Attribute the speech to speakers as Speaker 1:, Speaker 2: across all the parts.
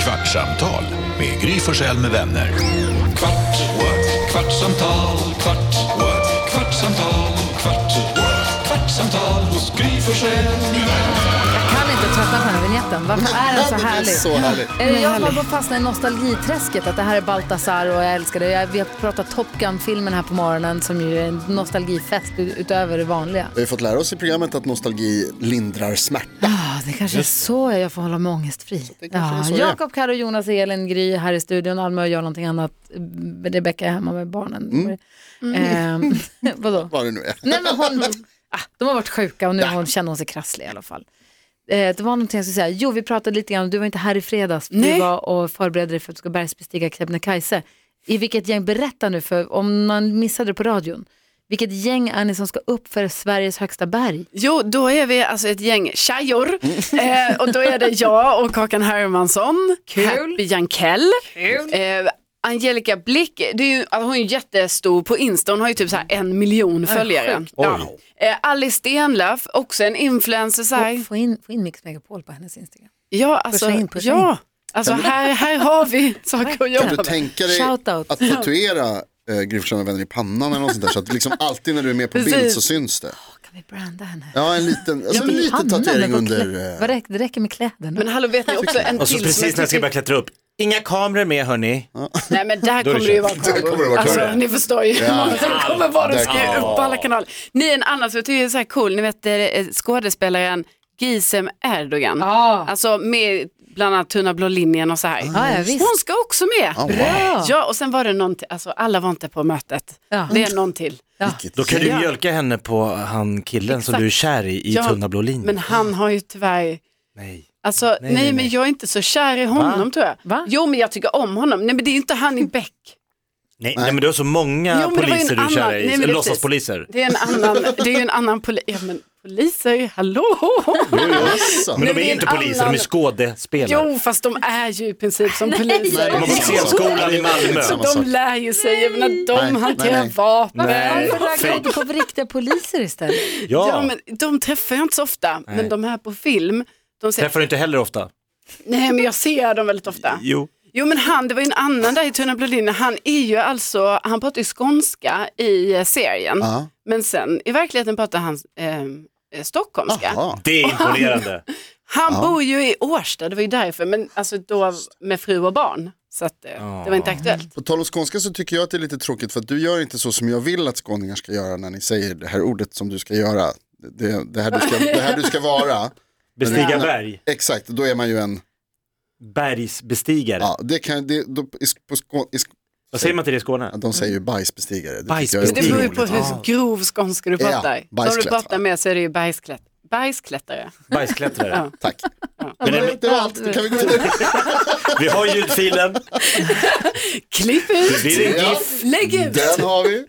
Speaker 1: Kvartsamtal med Gry Forssell med vänner. Kvart, what? kvartsamtal, kvart, what? kvartsamtal, kvart, what? kvartsamtal hos Gry Forssell med vänner.
Speaker 2: Jag kan inte tröttna på den här vignetten. Varför är den så
Speaker 3: Det är
Speaker 2: härlig?
Speaker 3: så härlig.
Speaker 2: Är det jag som har fastnat i nostalgiträsket? Att det här är Baltasar och jag älskar det. Jag, vi har pratat Top Gun-filmen här på morgonen som ju är en nostalgifest ut- utöver det vanliga.
Speaker 3: Vi har fått lära oss i programmet att nostalgi lindrar smärta.
Speaker 2: Ah, det kanske är så jag får hålla mig ångestfri.
Speaker 3: kanske är
Speaker 2: Ja,
Speaker 3: så det är.
Speaker 2: Jakob, Karo, Jonas, Elin, Gry här i studion. Alma och jag någonting annat. Rebecka är hemma med barnen.
Speaker 3: Mm.
Speaker 2: Ehm, vadå?
Speaker 3: Vad det nu är.
Speaker 2: Nej, men hon, ah, de har varit sjuka och nu har hon, känner hon sig krasslig i alla fall. Eh, det var någonting jag skulle säga. Jo, vi pratade lite grann, du var inte här i fredags. för Du
Speaker 4: Nej.
Speaker 2: var och förberedde dig för att du ska bergsbestiga Kebnekaise. I vilket gäng, berätta nu, för om man missade det på radion. Vilket gäng är ni som ska upp för Sveriges högsta berg?
Speaker 4: Jo, då är vi alltså ett gäng tjejor. Eh, och då är det jag och Kakan Hermansson, Happy Jankell, eh, Angelica Blick, det är ju, alltså hon är ju jättestor på Insta, hon har ju typ så här en miljon följare. Ja. Eh, Alice Stenlöf, också en influencer. Så här.
Speaker 2: Få in, få in Mix Megapol på hennes Instagram.
Speaker 4: Ja, alltså,
Speaker 2: pusha in, pusha in.
Speaker 4: ja. alltså här, här har vi saker att
Speaker 2: Verkligen.
Speaker 4: jobba
Speaker 3: Kan du
Speaker 4: med.
Speaker 3: tänka dig
Speaker 2: Mm. Shout out.
Speaker 3: att tatuera äh, Gry Forssell med vänner i pannan eller något sånt där så att liksom alltid när du är med på bild
Speaker 4: Precis.
Speaker 3: så syns det.
Speaker 2: Kan vi branda henne?
Speaker 3: Ja, en liten, alltså, en
Speaker 2: I
Speaker 3: liten
Speaker 2: pannan,
Speaker 3: tatuering
Speaker 2: men
Speaker 3: under...
Speaker 2: klä-
Speaker 3: eh,
Speaker 2: Vad räcker, det räcker med kläderna.
Speaker 4: Men hallå, vet ni också en
Speaker 5: Och så
Speaker 4: till som
Speaker 5: Alltså, precis när jag ska börja klättra upp, inga kameror med hörni.
Speaker 4: Nej men där
Speaker 5: Då är
Speaker 4: kommer
Speaker 5: det
Speaker 4: det ju vara
Speaker 5: kört.
Speaker 3: Där kommer det vara
Speaker 4: kameror. Alltså
Speaker 3: kameror.
Speaker 4: ni förstår ju hur
Speaker 3: Ja.
Speaker 4: många som kommer vara. De
Speaker 3: Där
Speaker 4: ska ju
Speaker 3: kommer-
Speaker 4: upp på alla kanaler. Ni en annan som jag tycker är så här cool, ni vet eh, skådespelaren Gizem Erdogan.
Speaker 2: Ja.
Speaker 4: Alltså med bland annat Tunna blå linjen och så här.
Speaker 2: Ja, ja, visst.
Speaker 4: Hon ska också med.
Speaker 3: wow.
Speaker 2: Bra!
Speaker 4: Ja och sen var det någon till, alltså alla var inte på mötet.
Speaker 2: Ja.
Speaker 4: Det är någon till.
Speaker 3: vilket-
Speaker 5: Då kan du
Speaker 4: Ja.
Speaker 5: mjölka henne på han killen som du är kär i, i
Speaker 4: Ja,
Speaker 5: tunna blå linjen.
Speaker 4: Men han har ju tyvärr
Speaker 5: Nej.
Speaker 4: Alltså, nej,
Speaker 5: nej,
Speaker 4: men
Speaker 5: nej.
Speaker 4: jag är inte så kär i honom
Speaker 5: Va?
Speaker 4: tror jag.
Speaker 2: Va?
Speaker 4: Jo men jag tycker om honom. Nej men det är ju inte han i Beck.
Speaker 5: Nej, nej men du har så många
Speaker 4: Jo, men det var ju en
Speaker 5: poliser du är
Speaker 4: annan-
Speaker 5: kär i,
Speaker 4: nej, men det är
Speaker 5: låtsaspoliser.
Speaker 4: Det är en annan, det är ju en annan poli- ja, men poliser, hallå!
Speaker 3: Jaså.
Speaker 5: Men
Speaker 4: Nej,
Speaker 5: de
Speaker 4: det
Speaker 5: är
Speaker 4: är
Speaker 5: ju
Speaker 4: en
Speaker 5: inte poliser, de är
Speaker 4: annan-
Speaker 5: skådespelare.
Speaker 4: Jo, fast de är ju i princip som
Speaker 3: Nej,
Speaker 4: poliser.
Speaker 5: De har gått scenskolan i Malmö. Alltså.
Speaker 3: Så
Speaker 4: De lär ju sig, jag menar, de
Speaker 3: Nej, nej,
Speaker 4: hanterar
Speaker 3: nej.
Speaker 4: vapen.
Speaker 5: Nej,
Speaker 2: Varför räknar du
Speaker 5: fake.
Speaker 2: inte på riktiga poliser istället?
Speaker 4: Ja,
Speaker 5: Ja,
Speaker 4: men de träffar jag inte så ofta, men
Speaker 5: Nej.
Speaker 4: de här på film, de säger,
Speaker 5: träffar du inte heller ofta?
Speaker 4: nej men jag ser dem väldigt ofta.
Speaker 5: Jo.
Speaker 4: Jo men han, det var ju en annan där i Tunna blå linjen, han är ju alltså, han pratar ju skånska i eh, serien,
Speaker 3: Ja.
Speaker 4: men sen i verkligheten pratar han eh, eh, stockholmska.
Speaker 3: Jaha.
Speaker 5: Det är imponerande.
Speaker 4: Han bor ju i Årsta, det var ju därför, men alltså då med fru och barn. Så att, eh, det var inte aktuellt.
Speaker 3: På tal om skånska så tycker jag att det är lite tråkigt för att du gör inte så som jag vill att skåningar ska göra när ni säger det här ordet som du ska göra. Det, det, här, du ska, det här du ska vara.
Speaker 5: Bestiga
Speaker 3: Men-
Speaker 5: berg.
Speaker 3: Exakt, då är man ju en,
Speaker 5: Bergsbestigare.
Speaker 3: ja, det kan, det, då, i, sk- på skå, i, sk-
Speaker 5: Vad säger man till det
Speaker 3: Ja,
Speaker 5: i Skåne?
Speaker 3: de säger ju bajsbestigare. Det
Speaker 5: Bajsbestigare.
Speaker 4: Det beror ju på
Speaker 3: otroligt.
Speaker 4: hur grov skånska du
Speaker 3: Ja,
Speaker 4: pratar. Om du
Speaker 3: bajsklätt,
Speaker 4: pratar
Speaker 3: va?
Speaker 4: med så är det ju bajsklätt. bajsklättare.
Speaker 5: Bajsklättrare.
Speaker 4: Ja.
Speaker 3: Tack.
Speaker 5: Men det,
Speaker 3: Det, det var allt, kan vi gå vidare?
Speaker 5: vi har ljudfilen, Alltså,
Speaker 4: Klipp
Speaker 5: det
Speaker 4: ut,
Speaker 5: blir en
Speaker 3: Ja,
Speaker 5: GIF.
Speaker 4: lägg ut.
Speaker 3: den har vi.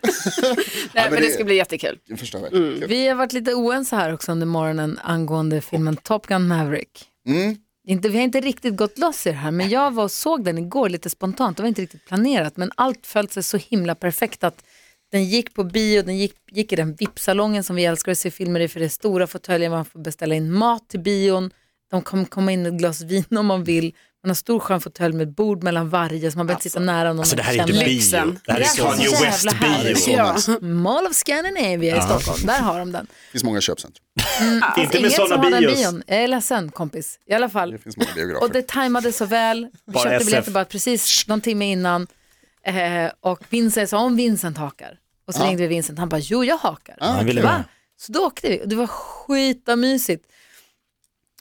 Speaker 4: Nej, men
Speaker 3: det-
Speaker 4: det ska bli jättekul.
Speaker 3: Jag förstår väl. Kul.
Speaker 2: Vi har varit lite oense här också under morgonen angående filmen Top Gun Maverick.
Speaker 3: Mm.
Speaker 2: Inte, vi har inte riktigt gått loss i det här, men jag var och såg den igår lite spontant. Det var inte riktigt planerat, men allt föll sig så himla perfekt att den gick på bio, den gick, gick i den VIP-salongen som vi älskar att se filmer i, för det är stora fåtöljer, man får beställa in mat till bion, de kommer komma in med ett glas vin om man vill, man har stor skön fåtölj med bord mellan varje, så man behöver inte sitta nära någon
Speaker 5: Alltså det
Speaker 2: man
Speaker 5: här är inte
Speaker 2: känner.
Speaker 5: bio,
Speaker 4: Lyxen.
Speaker 5: det här
Speaker 2: Det
Speaker 5: är
Speaker 2: är så
Speaker 5: Kanye
Speaker 2: jävla
Speaker 3: Det är
Speaker 5: West-bio.
Speaker 3: så
Speaker 4: Ja.
Speaker 3: nice. Det
Speaker 2: Mall of Scandinavia i Stockholm, där har de den.
Speaker 3: finns många köpcentrum.
Speaker 5: Inte med
Speaker 2: Alltså, Ingen som
Speaker 5: sådana
Speaker 2: har den
Speaker 5: bios.
Speaker 2: bion. Jag är ledsen kompis, i alla fall.
Speaker 3: Det finns många
Speaker 2: Och det
Speaker 3: biografer.
Speaker 2: tajmade så väl. Vi
Speaker 5: Bara
Speaker 2: köpte
Speaker 5: SF.
Speaker 2: biljetter bara precis någon timme innan. Eh, och Vincent sa om Vincent hakar. Och så ringde vi Vincent, han bara jo jag hakar.
Speaker 3: Ah,
Speaker 5: Han ville
Speaker 3: kul.
Speaker 5: vara.
Speaker 2: Så då åkte vi och det var skitamysigt.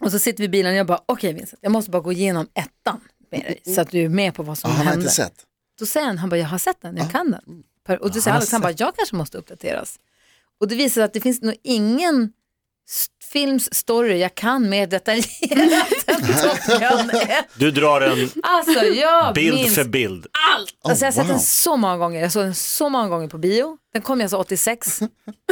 Speaker 2: Och så sitter vi i bilen och jag bara okej Vincent, jag måste bara gå igenom ettan med dig så att du är med på vad
Speaker 3: Ah,
Speaker 2: som
Speaker 3: han har
Speaker 2: hände.
Speaker 3: inte sett.
Speaker 2: Då säger han, han bara, jag har sett den, jag kan den. Per- Och då säger Alex, han bara, jag kanske måste uppdateras. Och det visar sig att det finns nog ingen s- films story jag kan mer detaljerat än Top Gun 1.
Speaker 5: Du drar en
Speaker 2: Alltså jag
Speaker 5: bild
Speaker 2: minns
Speaker 5: för bild.
Speaker 2: Alltså jag har sett
Speaker 3: Oh, wow.
Speaker 2: den så många gånger. Jag såg den så många gånger på bio. Den kom jag så 86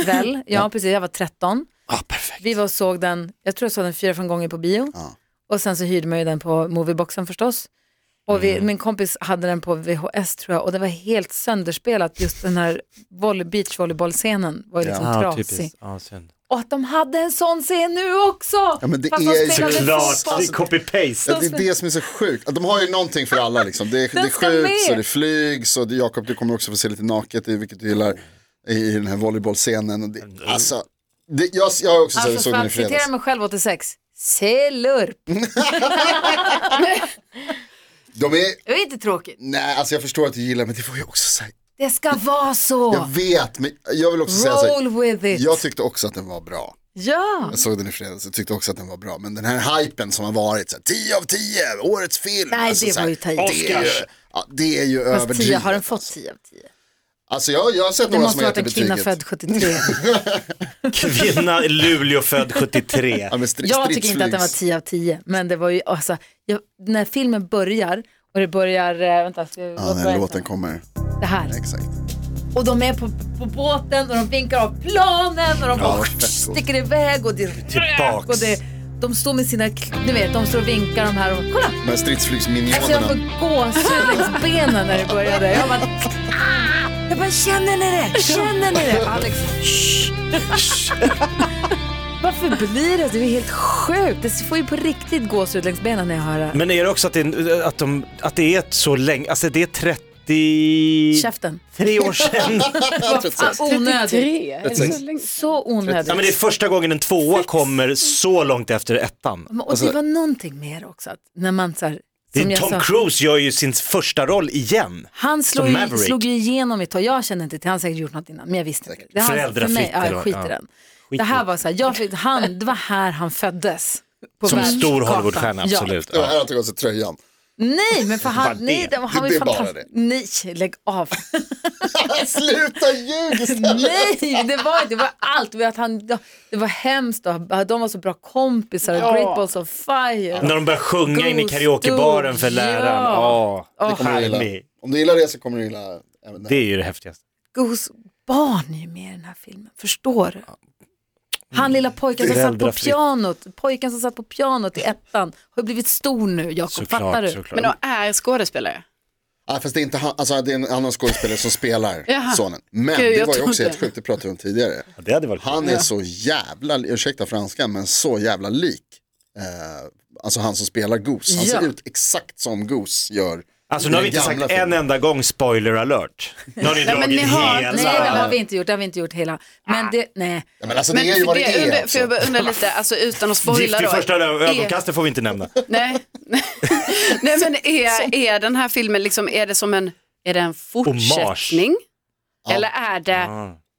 Speaker 2: väl. Ja, precis. Jag var 13.
Speaker 3: Ah,
Speaker 2: Vi var och såg den, jag tror jag såg den fyra, fem gånger på bio.
Speaker 3: Ja.
Speaker 2: Och sen så hyrde man ju den på movieboxen förstås. Och vi,
Speaker 3: Mm.
Speaker 2: min kompis hade den på VHS tror jag och det var helt sönderspelat. Just den här volley, beachvolleybollscenen var ju liksom
Speaker 5: Ja,
Speaker 3: Ah,
Speaker 2: trasig.
Speaker 5: typiskt. Ja, synd.
Speaker 2: Och att de hade en sån scen nu också!
Speaker 3: Ja, men det
Speaker 2: Fast
Speaker 3: är
Speaker 2: de
Speaker 3: ju-
Speaker 2: spelade
Speaker 5: Såklart,
Speaker 2: fotboll.
Speaker 5: det är copy-paste.
Speaker 3: Ja, det är det som är så sjukt. Att De har ju någonting för alla liksom. Det, det
Speaker 2: Den ska
Speaker 3: skjuts
Speaker 2: med.
Speaker 3: och det flygs och det, Jakob du kommer också få se lite naket i vilket du gillar i, i den här volleybollscenen. Och det, alltså, det, jag, jag har också
Speaker 2: Alltså,
Speaker 3: alltså,
Speaker 2: för
Speaker 3: såg den i
Speaker 2: att citera
Speaker 3: fredags.
Speaker 2: mig själv 86. Se lurp.
Speaker 3: De är,
Speaker 2: Det är inte tråkigt.
Speaker 3: nej alltså jag förstår att du gillar men det får ju också säga.
Speaker 2: Det ska vara
Speaker 3: Jag
Speaker 2: så.
Speaker 3: vet men jag vill också säga så här,
Speaker 2: Roll with it.
Speaker 3: jag tyckte också att den var bra.
Speaker 2: Ja.
Speaker 3: Jag såg den i fredags och tyckte också att den var bra. Men den här hypen som har varit, så här, 10 av 10, årets film. Alltså
Speaker 2: Nej, det
Speaker 3: så
Speaker 2: var
Speaker 3: här,
Speaker 2: ju ta i.
Speaker 3: det är ju, ja, det är ju
Speaker 2: Fast 10
Speaker 3: överdrivet.
Speaker 2: har den fått 10 av 10.
Speaker 3: Alltså jag, jag har sett
Speaker 2: Det
Speaker 3: några som
Speaker 2: måste
Speaker 3: har
Speaker 2: varit
Speaker 3: gett det
Speaker 2: en kvinna
Speaker 3: betyget.
Speaker 2: född 73.
Speaker 5: Kvinna i Luleå född 73.
Speaker 3: Ja, men stri-
Speaker 2: Jag tycker inte att den var
Speaker 3: stridsflygs.
Speaker 2: 10 av 10. Men det var ju, alltså, jag, när filmen börjar och det börjar, eh, vänta, ska jag,
Speaker 3: Ja, den här låten kommer.
Speaker 2: Det här.
Speaker 3: Exakt.
Speaker 2: Och de är på, på båten och de vinkar av planen och de bara
Speaker 3: det är fett
Speaker 2: sticker iväg och det är
Speaker 5: Tillbaks.
Speaker 2: rök och det, de står med sina, kn- ni vet, de står och vinkar de här och kolla.
Speaker 3: De
Speaker 2: Alltså
Speaker 3: här
Speaker 2: jag
Speaker 3: stridsflygsminionerna.
Speaker 2: får gåshud längs benen när det började. Jag bara, ah! jag bara känner ni det? Känner ni det? Alex, shh. Varför blir det så? Det är ju helt sjukt. Det får ju på riktigt gåshud längs benen när jag hör det här.
Speaker 5: Men är det också att det, att de, att det är ett så länge, alltså det är 33
Speaker 2: Käften.
Speaker 5: år sedan.
Speaker 2: Fan, onödigt.
Speaker 4: Tre, är det så länge?
Speaker 2: Så onödigt.
Speaker 5: Ja, men det är första gången en tvåa kommer så långt efter ettan.
Speaker 2: Men- Och
Speaker 5: Alltså,
Speaker 2: det var någonting mer också, att när man så här,
Speaker 5: det är
Speaker 2: som jag
Speaker 5: Tom
Speaker 2: sa,
Speaker 5: Cruise gör ju sin första roll igen.
Speaker 2: han slog
Speaker 5: som
Speaker 2: ju,
Speaker 5: Maverick.
Speaker 2: slog ju igenom ett tag, jag kände inte till, han har säkert gjort något innan, men jag visste inte. Det är han-
Speaker 5: Föräldrafritt
Speaker 2: för mig- Ja,
Speaker 5: eller
Speaker 2: jag
Speaker 5: vad-
Speaker 2: skiter i
Speaker 5: ja.
Speaker 2: den.
Speaker 5: Skit
Speaker 2: Det här
Speaker 5: i-
Speaker 2: var så här, jag fick, han, det var här han föddes. På
Speaker 5: Som
Speaker 2: världskartan.
Speaker 5: stor Hollywoodstjärna,
Speaker 2: Ja.
Speaker 5: absolut.
Speaker 3: Det var
Speaker 5: Ja.
Speaker 3: här han tog av sig tröjan.
Speaker 2: Nej, men för
Speaker 5: Bara
Speaker 2: han,
Speaker 5: det.
Speaker 2: nej, det, han var
Speaker 3: Det
Speaker 2: ju
Speaker 3: är bara
Speaker 2: fantastisk.
Speaker 3: det.
Speaker 2: Nej, lägg av.
Speaker 3: Sluta ljug istället.
Speaker 2: nej, det var, det var allt. Det var, att han, det var hemskt och de var så bra kompisar.
Speaker 4: Ja.
Speaker 2: Great Balls of Fire.
Speaker 5: När de börjar sjunga in i
Speaker 2: Ghost
Speaker 5: karaokebaren för
Speaker 2: Dude,
Speaker 5: läraren.
Speaker 2: ja.
Speaker 5: Ja,
Speaker 2: Åh,
Speaker 5: det,
Speaker 3: Kommer du
Speaker 5: är
Speaker 3: gilla. Om du gillar det så kommer du gilla även det.
Speaker 5: det är ju det häftigaste.
Speaker 2: Goos barn är ju med i den här filmen, förstår du? Han lilla pojken som satt på
Speaker 5: Föräldrafritt.
Speaker 2: pianot, pojken som satt på pianot i ettan, har ju blivit stor nu, Jakob, fattar du?
Speaker 5: Såklart, såklart.
Speaker 4: Men de är skådespelare.
Speaker 3: Ja, fast det är inte han, alltså det är en annan skådespelare som spelar
Speaker 4: Jaha.
Speaker 3: sonen. Men
Speaker 4: Gud,
Speaker 3: det
Speaker 4: jag
Speaker 3: var ju också
Speaker 4: trodde.
Speaker 3: helt sjukt, det pratade vi om tidigare.
Speaker 5: Ja, det hade varit
Speaker 3: Han är så jävla, ursäkta franskan, men så jävla lik. Eh, alltså han som spelar Goose. Han
Speaker 2: Ja.
Speaker 3: ser ut exakt som Goose gör.
Speaker 5: Alltså
Speaker 3: i
Speaker 5: nu har
Speaker 3: den
Speaker 5: vi inte sagt
Speaker 3: gamla
Speaker 5: en
Speaker 3: filmen.
Speaker 5: enda gång spoiler alert. Nu har ni
Speaker 4: Nej, men
Speaker 5: dragit
Speaker 4: ni har-
Speaker 5: hela.
Speaker 2: Nej, det har Ah. vi inte gjort, det har vi inte gjort hela. Men det, nej.
Speaker 3: Ja, men alltså
Speaker 4: Men
Speaker 3: det är ju
Speaker 4: för,
Speaker 3: vad det
Speaker 4: det,
Speaker 3: är.
Speaker 4: undrar,
Speaker 3: alltså.
Speaker 4: för jag bara undrar lite, alltså utan att spoila
Speaker 5: Gift
Speaker 4: då.
Speaker 5: vid första
Speaker 4: är-
Speaker 5: ö- ögonkastet får vi inte nämna.
Speaker 4: Nej, nej men är, är den här filmen liksom, är det som en, är det en fortsättning? Eller är det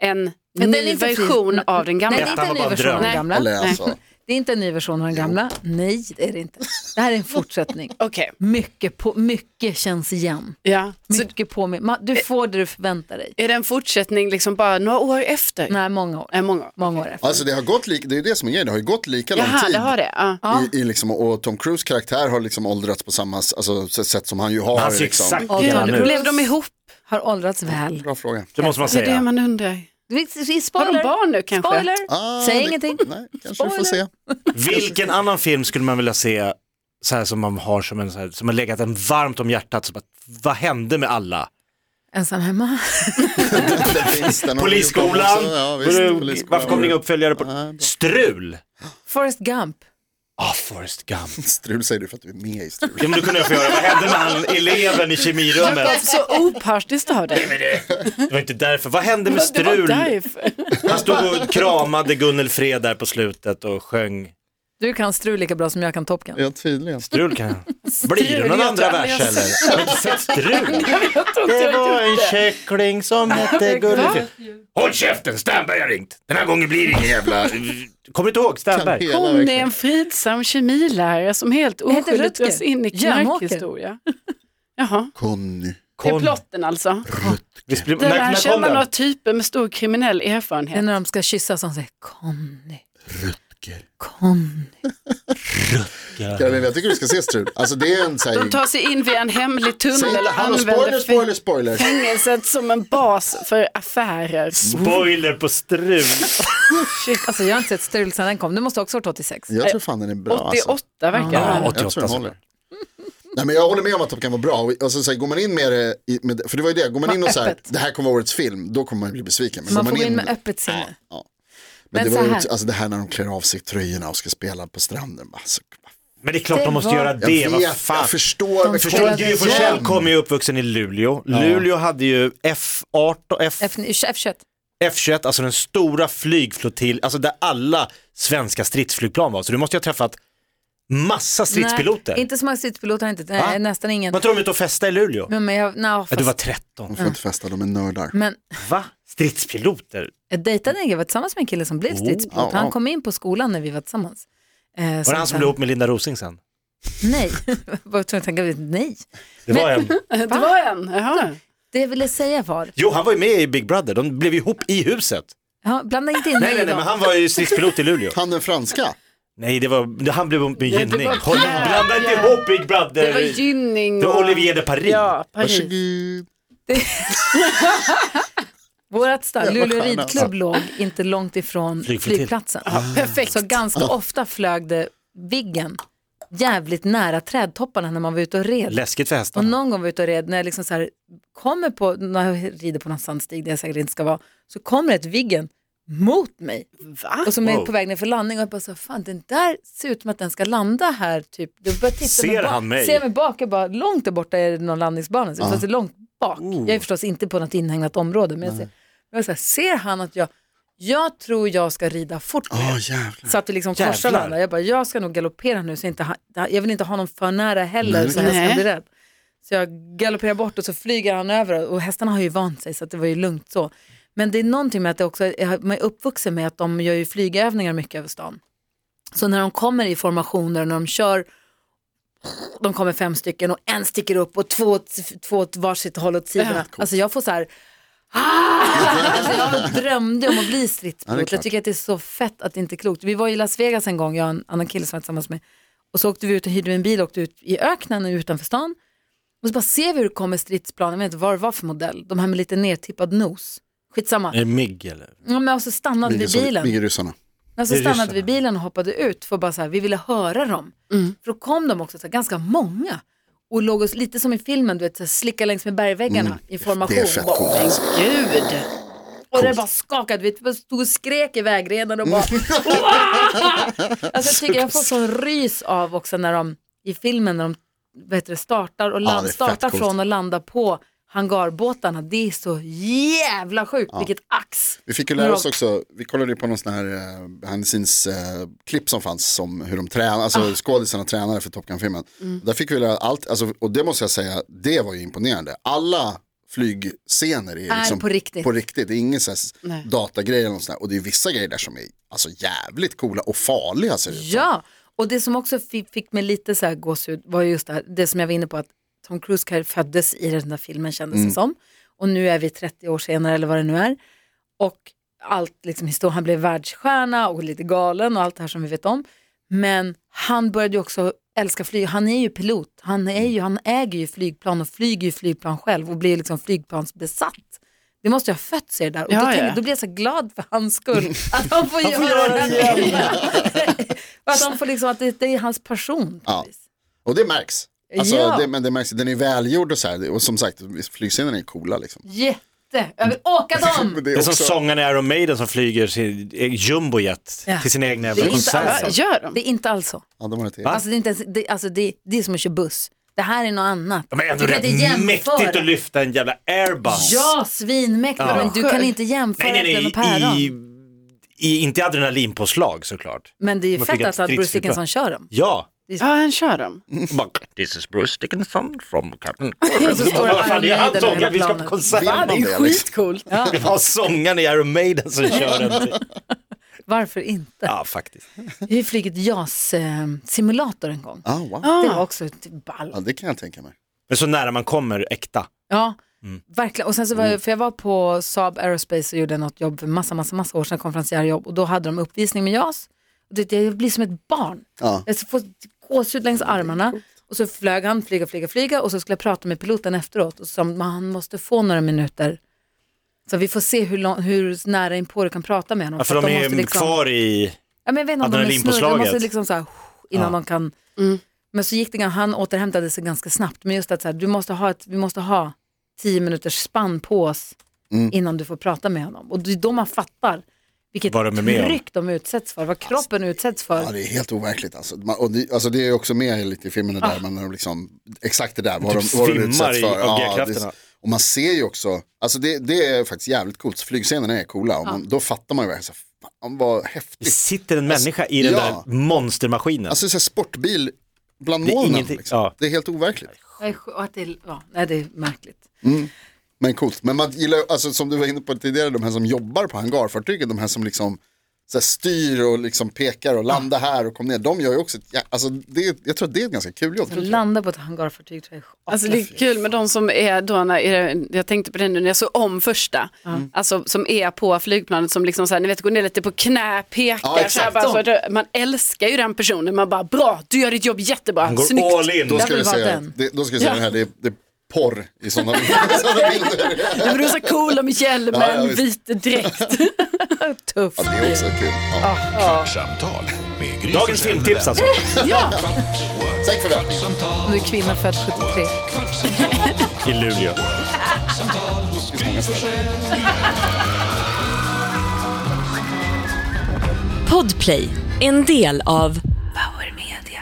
Speaker 4: en
Speaker 2: Men den är
Speaker 4: ny
Speaker 2: inte fri.
Speaker 4: version av den gamla?
Speaker 2: Nej, det är
Speaker 5: Ettan
Speaker 2: inte en
Speaker 5: var
Speaker 2: ny
Speaker 5: bara en
Speaker 2: version av den
Speaker 5: dröm.
Speaker 2: gamla.
Speaker 3: Eller alltså,
Speaker 2: Det är inte en ny version av den gamla. Nej, det är det inte. Det här är en fortsättning.
Speaker 4: Okej,
Speaker 2: Mycket, på, mycket känns igen.
Speaker 4: ja. Så
Speaker 2: Mycket på mig. Ma- Du får det du förväntar dig.
Speaker 4: är det en fortsättning liksom bara några år efter?
Speaker 2: Nej, många år.
Speaker 4: Äh, många år.
Speaker 2: Många år efter.
Speaker 3: alltså det har gått lika, det är ju det som är grejen, det har ju gått lika lång
Speaker 4: Jaha,
Speaker 3: tid.
Speaker 4: det har det. Ja.
Speaker 2: Ja.
Speaker 3: I, i liksom, och Tom Cruise karaktär har liksom åldrats på samma s- alltså, s- sätt som han ju har.
Speaker 5: Han ser
Speaker 3: liksom.
Speaker 5: Alltså, exakt
Speaker 2: Ja,
Speaker 5: likadan
Speaker 2: det
Speaker 4: Gud,
Speaker 5: ut.
Speaker 4: blev de ihop?
Speaker 2: Har åldrats väl.
Speaker 3: Bra fråga.
Speaker 5: Det måste man
Speaker 4: Det är det
Speaker 5: säga.
Speaker 4: man undrar.
Speaker 2: Vi, vi
Speaker 4: Har de
Speaker 2: spoiler.
Speaker 4: barn nu kanske?
Speaker 2: Spoiler.
Speaker 3: Ah,
Speaker 2: Säg
Speaker 3: det-
Speaker 2: ingenting.
Speaker 3: Nej, kanske vi får se.
Speaker 2: Spoiler.
Speaker 5: Vilken annan film skulle man vilja se så här som man har som, en, så här, som har legat en varmt om hjärtat? Som att, vad hände med alla?
Speaker 2: Ensam hemma.
Speaker 3: Det finns den.
Speaker 5: Polisskolan?
Speaker 3: alltså, Ja, visst,
Speaker 5: Var det-
Speaker 3: polisskolan.
Speaker 5: Varför kom det inga uppföljare? På?
Speaker 3: Nej, bra.
Speaker 5: Strul!
Speaker 2: Forrest Gump.
Speaker 5: Ah, Forrest Gump.
Speaker 3: Strul säger du för att du är med i strul.
Speaker 5: Ja, men då kunde jag få göra, vad hände med han, eleven i kemirummet?
Speaker 4: Så opartiskt av dig.
Speaker 5: Det var inte därför, vad hände med
Speaker 4: Det var
Speaker 5: Strul?
Speaker 4: därför.
Speaker 5: Han stod och kramade Gunnel Fred där på slutet och sjöng.
Speaker 2: Du kan strul lika bra som jag kan Top Gun.
Speaker 3: Ja, tydligen.
Speaker 5: Strul kan jag. Blir det någon
Speaker 4: jag
Speaker 5: andra
Speaker 4: tror
Speaker 5: vers
Speaker 4: aldrig jag
Speaker 5: eller? Har du inte sett Strul? Det var en kyckling som hette Gunnel Fred. Håll käften, Sternberg har ringt. Den här gången blir det ingen jävla... Kommer du inte ihåg Sternberg?
Speaker 3: Hela
Speaker 4: Hon är
Speaker 3: verkligen.
Speaker 4: en fridsam kemilärare som helt oskyldigt
Speaker 2: Rutger.
Speaker 4: dras in i
Speaker 2: Jönåker.
Speaker 4: knarkhistoria. Jaha,
Speaker 3: Conny.
Speaker 4: det är
Speaker 5: Kon...
Speaker 4: plotten alltså.
Speaker 5: Visst blir-
Speaker 4: Där
Speaker 5: När,
Speaker 4: lär
Speaker 5: när kom
Speaker 4: känna några
Speaker 5: den? Mm.
Speaker 4: typer med stor kriminell
Speaker 2: Det är
Speaker 4: typ erfarenhet.
Speaker 2: när de ska kyssa som säger Conny. Conny.
Speaker 3: Ja, men Jag tycker du ska se strul. Alltså det är en så här...
Speaker 4: De tar sig in via en hemlig
Speaker 3: Säg
Speaker 4: tunnel
Speaker 3: inte,
Speaker 4: och
Speaker 3: hallå, spoiler,
Speaker 4: använder
Speaker 3: spoiler, spoiler.
Speaker 4: fängelset som en bas för affärer.
Speaker 5: Spoiler på Strul.
Speaker 2: Shit, alltså jag har inte sett strul sedan den kom. Du måste också ha varit 86.
Speaker 3: Jag tror fan den är bra. Alltså.
Speaker 4: 88 verkar det
Speaker 5: Ja,
Speaker 4: vara.
Speaker 5: 88
Speaker 3: Jag tror den
Speaker 5: såklart.
Speaker 3: håller. Nej, men jag håller med om att de kan vara bra. Och alltså, så här, går man in med det, i- med, det- för det var ju det, går man in och så här,
Speaker 2: Öppet.
Speaker 3: det här kommer vara årets film, då kommer man ju bli besviken. Men
Speaker 2: Man
Speaker 3: går
Speaker 2: får gå in
Speaker 3: man
Speaker 2: med öppet sinne.
Speaker 3: Ja. Men,
Speaker 2: Men
Speaker 3: det, var
Speaker 2: så
Speaker 3: ju,
Speaker 2: här-
Speaker 3: alltså det här när de klär av sig tröjorna och ska spela på stranden. bara, Alltså,
Speaker 5: Men det är klart de måste
Speaker 2: var-
Speaker 5: göra
Speaker 3: jag
Speaker 5: det, vad
Speaker 3: vet,
Speaker 5: fan.
Speaker 3: jag förstår. men
Speaker 5: Förstår
Speaker 3: kom
Speaker 5: du, Gry
Speaker 3: igen.
Speaker 5: Forssell kom ju uppvuxen i Luleå. Luleå hade ju F18, F,
Speaker 2: F- F21.
Speaker 5: F21, alltså den stora flygflottilj, alltså där alla svenska stridsflygplan var. Så du måste ju ha träffat massa stridspiloter.
Speaker 2: Nej, inte så många stridspiloter, inte, nej,
Speaker 5: Va?
Speaker 2: nästan ingen.
Speaker 5: Var inte de ute och festade i Luleå?
Speaker 2: Men, men jag, nej,
Speaker 5: Ja,
Speaker 2: fast,
Speaker 5: du var 13.
Speaker 3: De får inte festa, de är nördar.
Speaker 2: men
Speaker 5: Va? Stridspiloter?
Speaker 2: jag dejtade en, jag var tillsammans med en kille som blev stridspilot.
Speaker 3: ja,
Speaker 2: Han
Speaker 3: ja.
Speaker 2: kom in på skolan när vi var tillsammans. Eh,
Speaker 5: Oh, Var det han som blev ihop med Linda Rosing sen?
Speaker 2: Nej, jag var tvungen att tänka, nej.
Speaker 5: Det var en.
Speaker 4: Det var en, jaha.
Speaker 2: Det jag ville säga var,
Speaker 5: Jo, han var ju med i Big Brother. De blev ihop i huset.
Speaker 2: ja, blanda inte in
Speaker 5: Nej,
Speaker 2: mig
Speaker 5: nej,
Speaker 2: i
Speaker 5: nej,
Speaker 2: dem.
Speaker 5: men han var ju stridspilot i Luleå.
Speaker 3: Han den franska.
Speaker 5: Nej, det var, han blev ihop med Gynning.
Speaker 4: var
Speaker 5: Håll-
Speaker 4: Pierre.
Speaker 5: Blanda inte ihop Big Brother.
Speaker 4: Det var Gynning
Speaker 5: Det var Olivier de Paris.
Speaker 4: Ja, Paris.
Speaker 3: Varsågod.
Speaker 2: Vårat stall, Luleå
Speaker 3: stjärna,
Speaker 2: ridklubb, låg inte långt ifrån
Speaker 5: Flygflottilj.
Speaker 2: flygplatsen.
Speaker 4: Perfekt.
Speaker 2: Så ganska ofta flög det Viggen jävligt nära trädtopparna när man var ute och red.
Speaker 5: Läskigt för
Speaker 2: Och
Speaker 5: hästarna.
Speaker 2: någon gång var jag ute och red, när jag liksom så här kommer på, när jag rider på någon sandstig där jag säkert inte ska vara, så kommer ett Viggen mot mig.
Speaker 4: Va?
Speaker 2: Och som är
Speaker 5: Wow.
Speaker 2: på väg ner för landning och jag bara så, fan den där ser ut som att den ska landa här typ. Jag börjar titta
Speaker 5: Ser
Speaker 2: mig bak,
Speaker 5: han mig?
Speaker 2: Ser mig bak, jag bara långt där borta är det någon landningsbana, så jag ser långt bak.
Speaker 5: Oh.
Speaker 2: Jag är förstås inte på något inhägnat område, men jag ser, jag så här, ser han att jag, jag tror jag ska rida fort
Speaker 5: Ah,
Speaker 2: nu.
Speaker 3: Åh jävlar.
Speaker 2: Så att vi liksom korsar
Speaker 5: Jävlar.
Speaker 2: varandra. Jag bara, jag ska nog galoppera nu så jag inte ha, jag vill inte ha någon för nära heller så
Speaker 4: Nej.
Speaker 2: hästen blir rädd. Så jag galopperar bort och så flyger han över och hästarna har ju vant sig så att det var ju lugnt så. Men det är någonting med att det också, jag man är uppvuxen med att de gör ju flygövningar mycket över stan. Så när de kommer i formationer, när de kör, de kommer fem stycken och en sticker upp och två, två åt varsitt håll åt sidorna. Alltså jag får så här, "Ah!" Alltså jag drömde om att bli
Speaker 3: Ja, det är
Speaker 2: stridspilot.
Speaker 3: klart.
Speaker 2: jag tycker att det är så fett att det inte är klokt. Vi var i Las Vegas en gång, jag och en annan kille som jag var tillsammans med. Och så åkte vi ut och hyrde en bil och åkte ut i öknen utanför stan. Och så bara ser vi hur det kommer stridsplan, jag vet inte vad det var för modell. De här med lite nedtippad nos. Skitsamma.
Speaker 5: Är det Migg eller?
Speaker 2: Ja, men alltså stannade vi bilen.
Speaker 3: Migeryssarna.
Speaker 2: Men så
Speaker 5: Det är
Speaker 2: stannade
Speaker 5: ryssarna.
Speaker 2: vi bilen och hoppade ut för bara så här, vi ville höra dem.
Speaker 3: Mm.
Speaker 2: För då kom de också så här, ganska många och låg oss lite som i filmen, du vet, så här, slicka längs med bergväggarna i formation.
Speaker 3: Mm. Det är fett
Speaker 2: Bara-
Speaker 3: coolt. alltså.
Speaker 4: Gud.
Speaker 2: och det bara skakade, vi bara stod och skrek i vägrenen och bara...
Speaker 3: Mm.
Speaker 2: alltså jag tycker jag får sån rys av också när de i filmen när de vad heter det, startar och land,
Speaker 3: det är fett
Speaker 2: startar
Speaker 3: coolt.
Speaker 2: från och landar på hangarbåtarna. Det är så jävla sjukt, vilket ax.
Speaker 3: Vi fick ju lära oss
Speaker 2: Rock.
Speaker 3: också, vi kollade ju på någon sån här eh, behind the scenes eh, klipp som fanns om hur de tränade, alltså
Speaker 2: Ah.
Speaker 3: skådisarna tränade för Top Gun-filmen.
Speaker 2: Mm.
Speaker 3: Där fick vi lära allt, alltså, och det måste jag säga, det var ju imponerande. Alla flygscener är,
Speaker 2: Är
Speaker 3: liksom
Speaker 2: på riktigt.
Speaker 3: på riktigt, det är ingen sån
Speaker 4: Nej.
Speaker 3: här datagrej eller något sånt där. Och det är vissa grejer där som är alltså, jävligt coola och farliga ser det ut som.
Speaker 2: Ja, och det som också fick, fick mig lite så här gåshud var just det här, det som jag var inne på att Tom Cruise kanske föddes i den där filmen kändes det som. Och nu är vi 30 år senare eller vad det nu är. Och allt, liksom historien, han blev världsstjärna och lite galen och allt det här som vi vet om. Men han började ju också älska flyg, han är ju pilot, han, är ju, han äger ju flygplan och flyger ju flygplan själv och blir liksom flygplansbesatt. Det måste ju ha fötts i det där. Och
Speaker 4: Ja,
Speaker 2: då, tänkte,
Speaker 4: ja.
Speaker 2: då blir jag så glad för hans skull att han får göra, det här. Och att han får liksom, att det, det är hans passion. på
Speaker 3: Ja.
Speaker 2: vis.
Speaker 3: Och det märks. Alltså,
Speaker 2: Ja.
Speaker 3: det, men det märks, den är välgjord och så här, och som sagt, flygscenerna är coola liksom.
Speaker 2: Jätte, jag vill åka dem!
Speaker 3: Men det
Speaker 5: Det
Speaker 3: är
Speaker 5: är som
Speaker 3: också,
Speaker 5: sångaren i Iron Maiden som flyger sin e- jumbojet
Speaker 2: Ja.
Speaker 5: till sina egna
Speaker 2: Det är
Speaker 5: jävla
Speaker 2: inte
Speaker 5: konserter.
Speaker 2: alls.
Speaker 4: Gör de?
Speaker 2: Det är inte alls så.
Speaker 3: ja, de har det till.
Speaker 2: Alltså, det, är inte ens, det, alltså, det, det är som att köra buss. Det här är något annat.
Speaker 5: Men ändå
Speaker 2: du kan inte
Speaker 5: rätt
Speaker 2: jämföra.
Speaker 5: mäktigt att lyfta en jävla airbus.
Speaker 2: Ja, svinmäktigt,
Speaker 5: Ja.
Speaker 2: men du kan inte jämföra
Speaker 5: nej,
Speaker 2: äpplen
Speaker 5: nej,
Speaker 2: och päron.
Speaker 5: nej, i, i, inte i adrenalinpåslag såklart.
Speaker 2: Men det är ju
Speaker 5: Man
Speaker 2: fett
Speaker 5: fick ett
Speaker 2: alltså att Bruce
Speaker 5: stridsflygplan.
Speaker 2: Dickinson kör dem.
Speaker 5: Ja.
Speaker 4: Ja, han kör dem.
Speaker 5: Bara, This is Bruce Dickinson from Captain.
Speaker 2: Och så står
Speaker 5: Vad fan, det är
Speaker 2: Iron
Speaker 5: han
Speaker 2: Maiden över
Speaker 5: sångaren, vi
Speaker 2: hela
Speaker 5: ska på
Speaker 2: planet.
Speaker 5: konsert.
Speaker 3: Va?
Speaker 4: Det är ju
Speaker 3: Det är liksom-
Speaker 4: skitcoolt.
Speaker 5: Det var sångaren i Iron Maiden som kör den.
Speaker 2: Varför inte?
Speaker 5: Ja, faktiskt.
Speaker 2: Vi har flugit JAS-simulator en gång.
Speaker 3: Ah, wow.
Speaker 2: Det var också ett ball.
Speaker 3: ja, det kan jag tänka mig.
Speaker 5: Men så nära man kommer äkta.
Speaker 2: Ja,
Speaker 5: Mm.
Speaker 2: verkligen. Och sen så var jag, för jag var på Saab Aerospace och gjorde något jobb för massa, massa, massa år sedan, konferensjärjobb. Och då hade de uppvisning med JAS. Och det, jag blir som ett barn.
Speaker 3: Ja.
Speaker 2: Jag får gåshud längs armarna. Och så flög han, flyga, flyga, flyga. Och så skulle jag prata med piloten efteråt. Och så sa han, "Man, han måste få några minuter. Så vi får se hur, lång, hur nära inpå du kan prata med honom.
Speaker 5: Ja, för
Speaker 2: att
Speaker 5: de är
Speaker 2: måste liksom-
Speaker 5: kvar i...
Speaker 2: Ja, men jag vet inte om de är
Speaker 5: Adrenalinpåslaget.
Speaker 2: snurriga, de måste liksom så här, innan de kan. Men så gick det, gan- han återhämtade sig ganska snabbt. Men just att så här, du måste ha ett, vi måste ha
Speaker 5: Mm.
Speaker 2: tio minuters spann på oss innan du får prata med honom. Och det är då man fattar Vilket
Speaker 5: Vad de är med om.
Speaker 2: tryck de utsätts för, vad kroppen utsätts för.
Speaker 3: Ja, det är helt overkligt alltså. Man, och det, alltså det är också med lite i filmerna där, men när de liksom, exakt det där, vad
Speaker 5: Ah. Typ
Speaker 3: de, vad de
Speaker 5: svimmar
Speaker 3: utsätts
Speaker 5: i-
Speaker 3: för.
Speaker 5: av G-krafterna.
Speaker 3: det- och man ser ju också, alltså det, det är faktiskt jävligt coolt, flygcenerna är coola, och
Speaker 5: Ah.
Speaker 3: man, då fattar man ju verkligen, så här, fan vad
Speaker 5: Det
Speaker 3: häftigt.
Speaker 5: sitter en
Speaker 2: Alltså,
Speaker 5: människa i den
Speaker 3: Ja.
Speaker 5: där monstermaskinen.
Speaker 3: Alltså så här, sportbil bland
Speaker 5: Det är
Speaker 3: molnen,
Speaker 5: ingenting-
Speaker 3: liksom.
Speaker 5: ja.
Speaker 3: det är helt overkligt.
Speaker 2: Jag är sj- och att det är- Ja, nej, det är märkligt.
Speaker 3: Men coolt, men man gillar ju- alltså som du var inne på tidigare, de här som jobbar på hangarfartygen, de här som liksom så här, styr och liksom pekar
Speaker 5: Ah.
Speaker 3: och landa här och kom ner, de gör ju också, ett jä- alltså det, jag tror att det är ett ganska kul jobb.
Speaker 2: Att landa på ett hangarfartyg tror jag är
Speaker 4: Alltså det är kul med de som är då, när, är det- jag tänkte på det nu när jag såg om första, alltså som är på flygplanet som liksom så här, ni vet går ner lite på knä, pekar,
Speaker 3: Ja,
Speaker 4: så här,
Speaker 3: exakt.
Speaker 4: bara, så, att- man älskar ju den personen, man bara bra, du gör ditt jobb jättebra,
Speaker 5: Han går
Speaker 4: snyggt.
Speaker 5: all in.
Speaker 3: Då ska
Speaker 2: vill
Speaker 3: vi
Speaker 2: vara
Speaker 3: säga,
Speaker 2: den.
Speaker 3: det, då ska vi säga det här, det är, det är porr i sådana sådana bilder.
Speaker 4: Ja, men Du är så cool med hjälmen,
Speaker 3: Ja, ja, visst.
Speaker 4: vit dräkt.
Speaker 2: tuff.
Speaker 3: Det är också kul. Ja.
Speaker 1: Kvartsamtal med Gry
Speaker 5: Dagens
Speaker 1: Forssell med
Speaker 5: filmtips alltså.
Speaker 1: vänner.
Speaker 4: ja,
Speaker 1: Kvart, what?
Speaker 3: Tack för det.
Speaker 1: Kvartsamtal,
Speaker 2: Du är kvinna född 73.
Speaker 1: kvartsamtal,
Speaker 5: I Luleå.
Speaker 1: kvartsamtal hos Gry Forssell.
Speaker 6: Podplay, en del av Power Media.